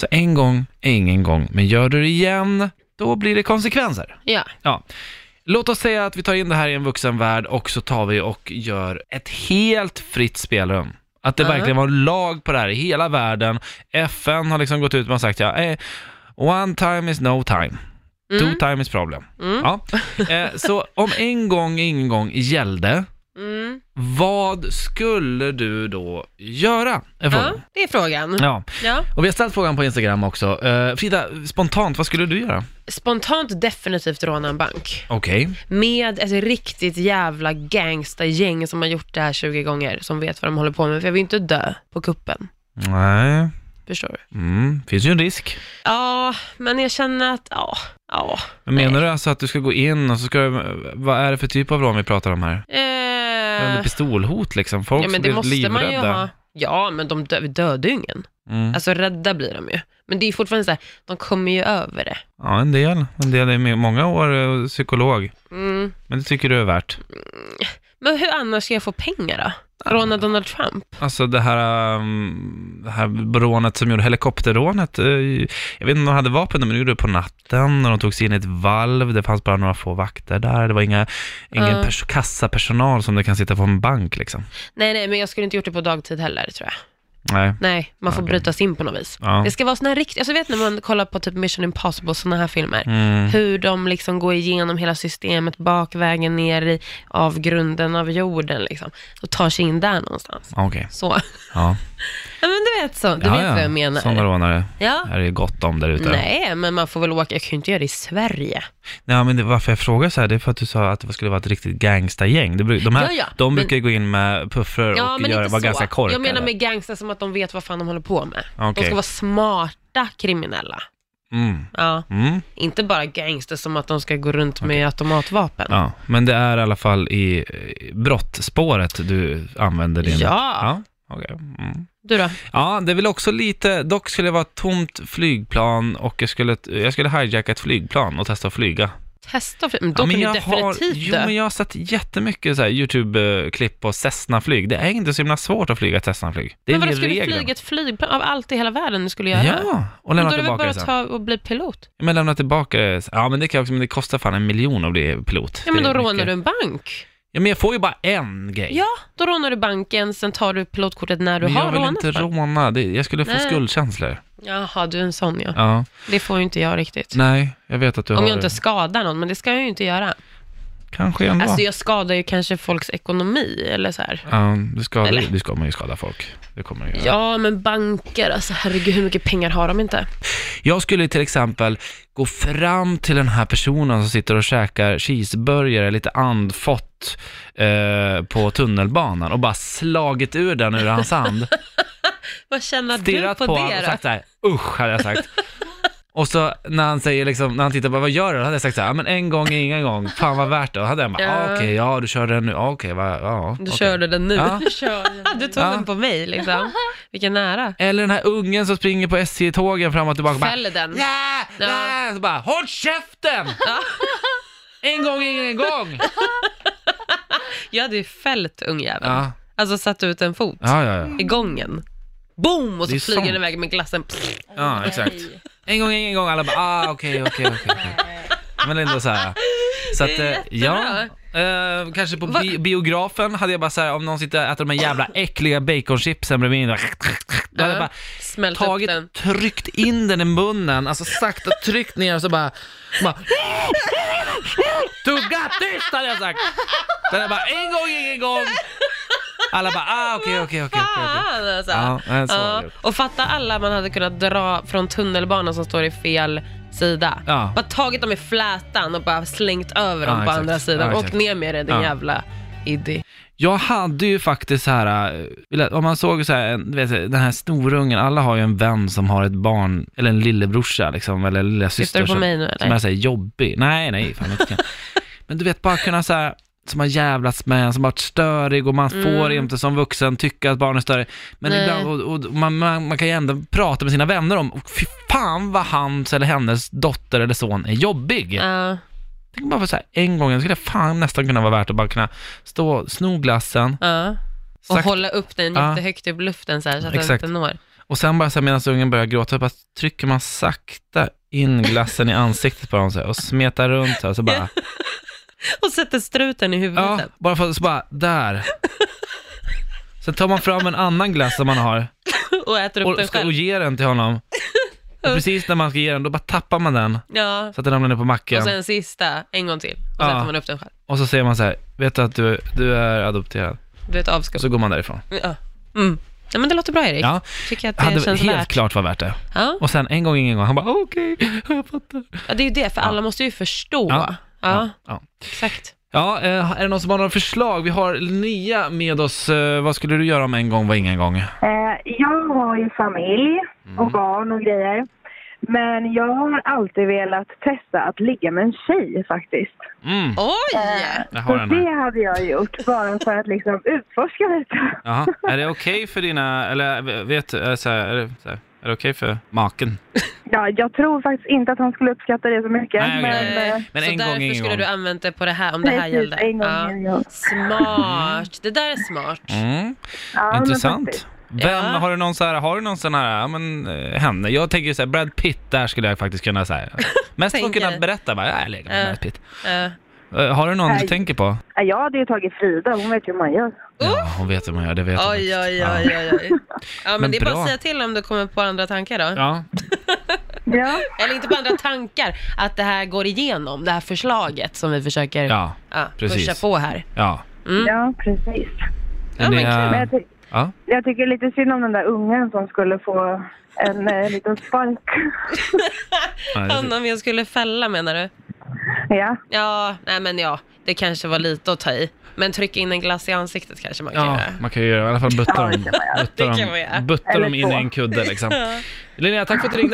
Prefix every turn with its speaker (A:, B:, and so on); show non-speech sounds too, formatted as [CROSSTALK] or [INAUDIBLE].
A: Så en gång är ingen gång, men gör du det igen, då blir det konsekvenser.
B: Ja.
A: Ja. Låt oss säga att vi tar in det här i en vuxen värld och så tar vi och gör ett helt fritt spelrum. Att det
B: Ja.
A: verkligen var lag på det här i hela världen. FN har liksom gått ut och sagt ja, eh, one time is no time.
B: Mm.
A: Two time is problem.
B: Mm.
A: Ja. Eh, så om en gång ingen gång gällde,
B: Mm.
A: vad skulle du då göra? Är
B: Ja,
A: frågan.
B: det är frågan.
A: Ja.
B: Ja.
A: Och vi har ställt frågan på Instagram också. Eh, Frida, spontant, vad skulle du göra?
B: Spontant definitivt råna en bank.
A: Okej.
B: Med ett riktigt jävla gangsta-gäng som har gjort det här 20 gånger, som vet vad de håller på med. För jag vill inte dö på kuppen.
A: Nej.
B: Förstår du?
A: Mm. Finns ju en risk.
B: Ja, men jag känner att, ja, ja.
A: Men menar du alltså att du ska gå in och så ska du, vad är det för typ av rån vi pratar om här? Är det
B: Eh,
A: pistolhot liksom? Folk
B: ja,
A: som
B: men det
A: blir
B: måste man ju
A: livrädda?
B: ha. Ja, men de dö- vi dödar ju ingen.
A: Mm.
B: Alltså rädda blir de ju. Men det är ju fortfarande så här, de kommer ju över det.
A: Ja, en del. En del är med många år eh, psykolog.
B: Mm.
A: Men det tycker du är värt.
B: Men hur annars ska jag få pengar då? Råna Donald Trump?
A: Alltså det här, um, det här rånet som gjorde helikopterrånet. eh, Jag vet inte om de hade vapen, men de gjorde det på natten och de tog sig in i ett valv. Det fanns bara några få vakter där. Det var inga, ingen
B: Ja.
A: pers- kassapersonal som det kan sitta på en bank liksom.
B: Nej, nej, men jag skulle inte gjort det på dagtid heller tror jag.
A: Nej.
B: Nej, man får
A: Okej.
B: bryta sig in på något vis.
A: Ja.
B: Det ska vara såna här riktiga, alltså vet när man kollar på typ Mission Impossible, såna här filmer.
A: Mm.
B: Hur de liksom går igenom hela systemet bakvägen ner i avgrunden av jorden liksom. Och tar sig in där någonstans.
A: Okej,
B: Så. [LAUGHS]
A: ja.
B: Ja, men du vet så. Du vet vad jag menar.
A: Sådana rånare.
B: Ja.
A: Här är det gott om där ute. Nej.
B: Nej, men man får väl åka. Jag kan ju inte göra det i Sverige.
A: men det, varför jag frågar så här, det är för att du sa att det skulle vara ett riktigt gangstergäng. Det bru- De, här,
B: Ja, ja,
A: de
B: men-
A: brukar ju gå in med puffror
B: Ja,
A: och
B: men
A: göra,
B: inte
A: vara
B: så.
A: ganska korkade.
B: Jag menar med gangster som att de vet vad fan de håller på med.
A: Okej.
B: De ska vara smarta kriminella.
A: Mm.
B: Ja,
A: Mm.
B: inte bara gangster som att de ska gå runt med automatvapen.
A: Ja, men det är i alla fall i eh, brottspåret du använder din...
B: Ja.
A: ja. okej. Mm.
B: Du då?
A: Ja, det är väl också lite, dock skulle det vara ett tomt flygplan och jag skulle, jag skulle hijacka ett flygplan och testa att flyga.
B: Testa för, men
A: Ja,
B: då kan du
A: jag
B: definitivt
A: Jo,
B: dö.
A: men jag har sett jättemycket så här YouTube-klipp på Cessna-flyg. Det är inte så himla svårt att flyga ett Cessna-flyg. Det är
B: Men vadå,
A: väl
B: skulle du
A: regeln.
B: flyga ett flygplan av allt i hela världen du skulle göra?
A: Ja, och
B: men
A: lämna
B: då är det väl
A: tillbaka
B: bara
A: det
B: att
A: sen.
B: ta och bli pilot?
A: Men lämna tillbaka det. sen. Ja, men det kan jag också, men det kostar fan en miljon att bli pilot.
B: Ja, men
A: Det är
B: då rånar
A: mycket.
B: du en bank.
A: Ja, men jag får ju bara en grej.
B: Ja, då rånar du banken, sen tar du pilotkortet när du
A: men
B: har
A: jag vill
B: rånat
A: inte
B: banken.
A: råna. Det, jag skulle få
B: Nej.
A: skuldkänslor.
B: Jaha, du är en sån ja.
A: Ja.
B: Det får ju inte jag riktigt.
A: Nej, jag vet att du
B: Om
A: har...
B: jag inte skadar någon, men det ska jag ju inte göra.
A: Kanske ändå.
B: Alltså jag skadar ju kanske folks ekonomi eller så här.
A: Ja, du ska,
B: Eller?
A: du ska man ju skada folk. Det kommer jag göra.
B: Ja, men banker, alltså herregud, hur mycket pengar har de inte?
A: Jag skulle till exempel gå fram till den här personen som sitter och käkar cheeseburgare lite andfått eh, på tunnelbanan och bara slagit ur den ur hans hand.
B: Vad känner
A: Stirrat
B: du
A: på,
B: på,
A: honom
B: det
A: och
B: då?
A: sagt så här, usch, hade jag
B: [LAUGHS]
A: sagt. Och så när han säger liksom, när han tittar på vad gör du? Då hade jag sagt så här, "Ja, men en gång är ingen gång, fan vad värt det. Då hade han bara,
B: Ja.
A: ah, okej, ja du kör den nu, ah, okej, va, ja.
B: Du
A: okej."
B: körde den nu.
A: Ja.
B: [LAUGHS] Du, kör. du tog
A: Ja.
B: den på mig liksom. Vilken ära.
A: Eller den här ungen som springer på SJ-tågen fram och tillbaka. och bara,
B: Fäller den.
A: Nej,
B: Ja.
A: nej, så bara håll
B: [LAUGHS]
A: käften!
B: Ja.
A: En gång ingen gång!
B: Jag hade ju fällt ungjäveln.
A: Ja,
B: Alltså satt ut en fot
A: ja, ja. ja.
B: i gången. Boom! Och
A: Det är
B: så flyger
A: sånt.
B: den iväg med glassen. Pff.
A: ja exakt. En gång ingen gång, alla bara ah okej okej okej. okej. Men ändå så här. Så att,
B: Det är
A: eh, ja. Eh, kanske på bi- biografen hade jag bara så här, om någon sitter och äter de här jävla äckliga baconchipsen bredvid mig, då hade jag bara
B: Smält upp den.
A: tagit, tryckt in den i munnen, alltså sakta tryckt ner och så bara, bara Tugga tyst hade jag sagt! Så jag bara, en gång ingen gång! Alla bara, ah okej okej okej okej, okej.
B: Fan alltså.
A: Ja, nej, så var det.
B: Och fatta alla man hade kunnat dra från tunnelbanan som står i fel sida.
A: Ja.
B: Bara tagit dem i flätan och bara slängt över dem
A: Ja,
B: på
A: exakt.
B: andra sidan.
A: Ja,
B: Åkt
A: exakt.
B: ner med det din
A: Ja.
B: jävla idé.
A: Jag hade ju faktiskt så här, eh, vill- om man såg så här, en- du vet, den här snorungen, alla har ju en vän som har ett barn, eller en lillebrorsa liksom, eller en
B: Syftar
A: lillasyster
B: du på
A: som,
B: mig nu
A: som
B: eller?
A: är så här jobbig. Nej, nej, fan inte kan.
B: [LAUGHS]
A: Men du vet, bara kunna så här, som har jävlats med en, som varit störig och man får inte som vuxen tycka att barn är större. Men
B: Mm. Nej.
A: ibland, och, och man, man, man kan ju ändå prata med sina vänner om, "Och fy fan vad hans eller hennes dotter eller son är jobbig.
B: Ja.
A: Tänk bara på så här, en gång, det skulle fan nästan kunna vara värt att bara kunna stå, sno glassen,
B: Ja. Och
A: sakta
B: hålla upp den
A: Ja.
B: jättehögt upp i luften så här så att
A: Exakt.
B: den inte når.
A: Och sen bara så här, medan ungen börjar gråta, bara trycker man sakta in glassen i ansiktet på honom så här, och smetar runt så här, så
B: [LAUGHS]
A: bara,
B: Och sätter struten i huvudet.
A: ja,
B: sen.
A: bara för, så bara,
B: [LAUGHS]
A: där. Sen tar man fram en annan glass som man har
B: Och äter upp
A: och,
B: den
A: ska,
B: själv.
A: och ger den till
B: [LAUGHS]
A: honom. Och precis när man ska ge den, då bara tappar man den
B: Ja.
A: så att den ramlar ner på mackan.
B: Och
A: Och,
B: sen sista, en gång till. Och sen
A: Ja.
B: tar man upp den själv.
A: så säger man så här, vet du att du, du är adopterad?
B: Du vet
A: Och
B: avskum.
A: så går man därifrån.
B: Ja. Mm. ja, men det låter bra Erik.
A: Ja,
B: Tycker att det
A: hade
B: känns
A: helt
B: värt.
A: klart var värt det.
B: Ja.
A: Och sen en gång, ingen gång, han bara okej, jag fattar.
B: ja, det är ju det, för alla måste ju förstå.
A: Ja.
B: Ja,
A: ja.
B: exakt.
A: Ja, eh, är det någon som har några förslag? Vi har Linnea med oss. Eh, Vad skulle du göra om en gång var ingen gång?
C: Eh, jag har ju familj
A: Mm.
C: och barn och grejer. Men jag har alltid velat testa att ligga med en tjej faktiskt.
A: Mm,
B: Oj! Eh,
A: jag har
C: Så
A: den här.
C: det hade jag gjort bara för att liksom utforska lite.
A: Jaha. Är det okej för dina, eller eh, vet eh, så här, är det, så här, är det okej för maken?
C: Ja, jag tror faktiskt inte att han skulle uppskatta det så mycket.
A: Nej, okej.
C: men eh,
A: Men
B: så
A: en gång,
B: därför
A: ingen
B: skulle
A: gång.
B: du använt det på det här, om det här
C: precis,
B: gällde.
C: en gång.
B: Ja.
C: en gång.
B: Smart, det där är smart.
A: Mm,
C: Ja, men
A: intressant.
C: faktiskt.
A: Vem,
B: Ja.
A: har du någon så här, har du någon sån här, ja men eh, henne, jag tänker ju så här, Brad Pitt, där skulle jag faktiskt kunna
B: [LAUGHS]
A: säga. Mest för att
B: Tänker.
A: kunna berätta bara, "Ja, jag lägger med
B: Ja.
A: Brad Pitt.
B: Eh,
A: Eh, Har du någon du
C: Nej.
A: tänker på?
C: Ja, jag hade ju tagit Frida, hon vet ju hur man gör.
A: Ja, hon vet hur man gör, det vet hon
B: oj,
A: faktiskt.
B: oj,
A: Ja.
B: oj, oj, oj. Ja, men,
A: Men
B: det är bara
A: bra.
B: att säga till om du kommer på andra tankar då.
A: Ja,
C: Ja,
B: Eller inte på andra tankar, att det här går igenom, det här förslaget som vi försöker
A: ja,
B: ja,
A: precis.
B: pusha på här.
A: ja.
B: Mm.
C: ja precis.
B: Ja, men
A: Linnea-
C: Men jag, ty-
A: ja.
C: jag tycker lite synd om den där ungen som skulle få en eh, liten spark. [LAUGHS]
A: Nej, det-
B: Honom jag skulle fälla menar du?
C: ja.
B: Ja, nej men ja, det kanske var lite att ta i. Men trycka in en glass i ansiktet kanske man kan
A: Ja,
B: göra.
A: man kan ju göra i alla fall butta
C: Ja,
A: dem,
C: det kan man
A: butta
B: Det kan
A: dem,
B: man göra.
A: butta dem
C: Eller
A: in i
C: så.
B: [LAUGHS]
A: en kudde liksom. Linnea, tack för att du ringde.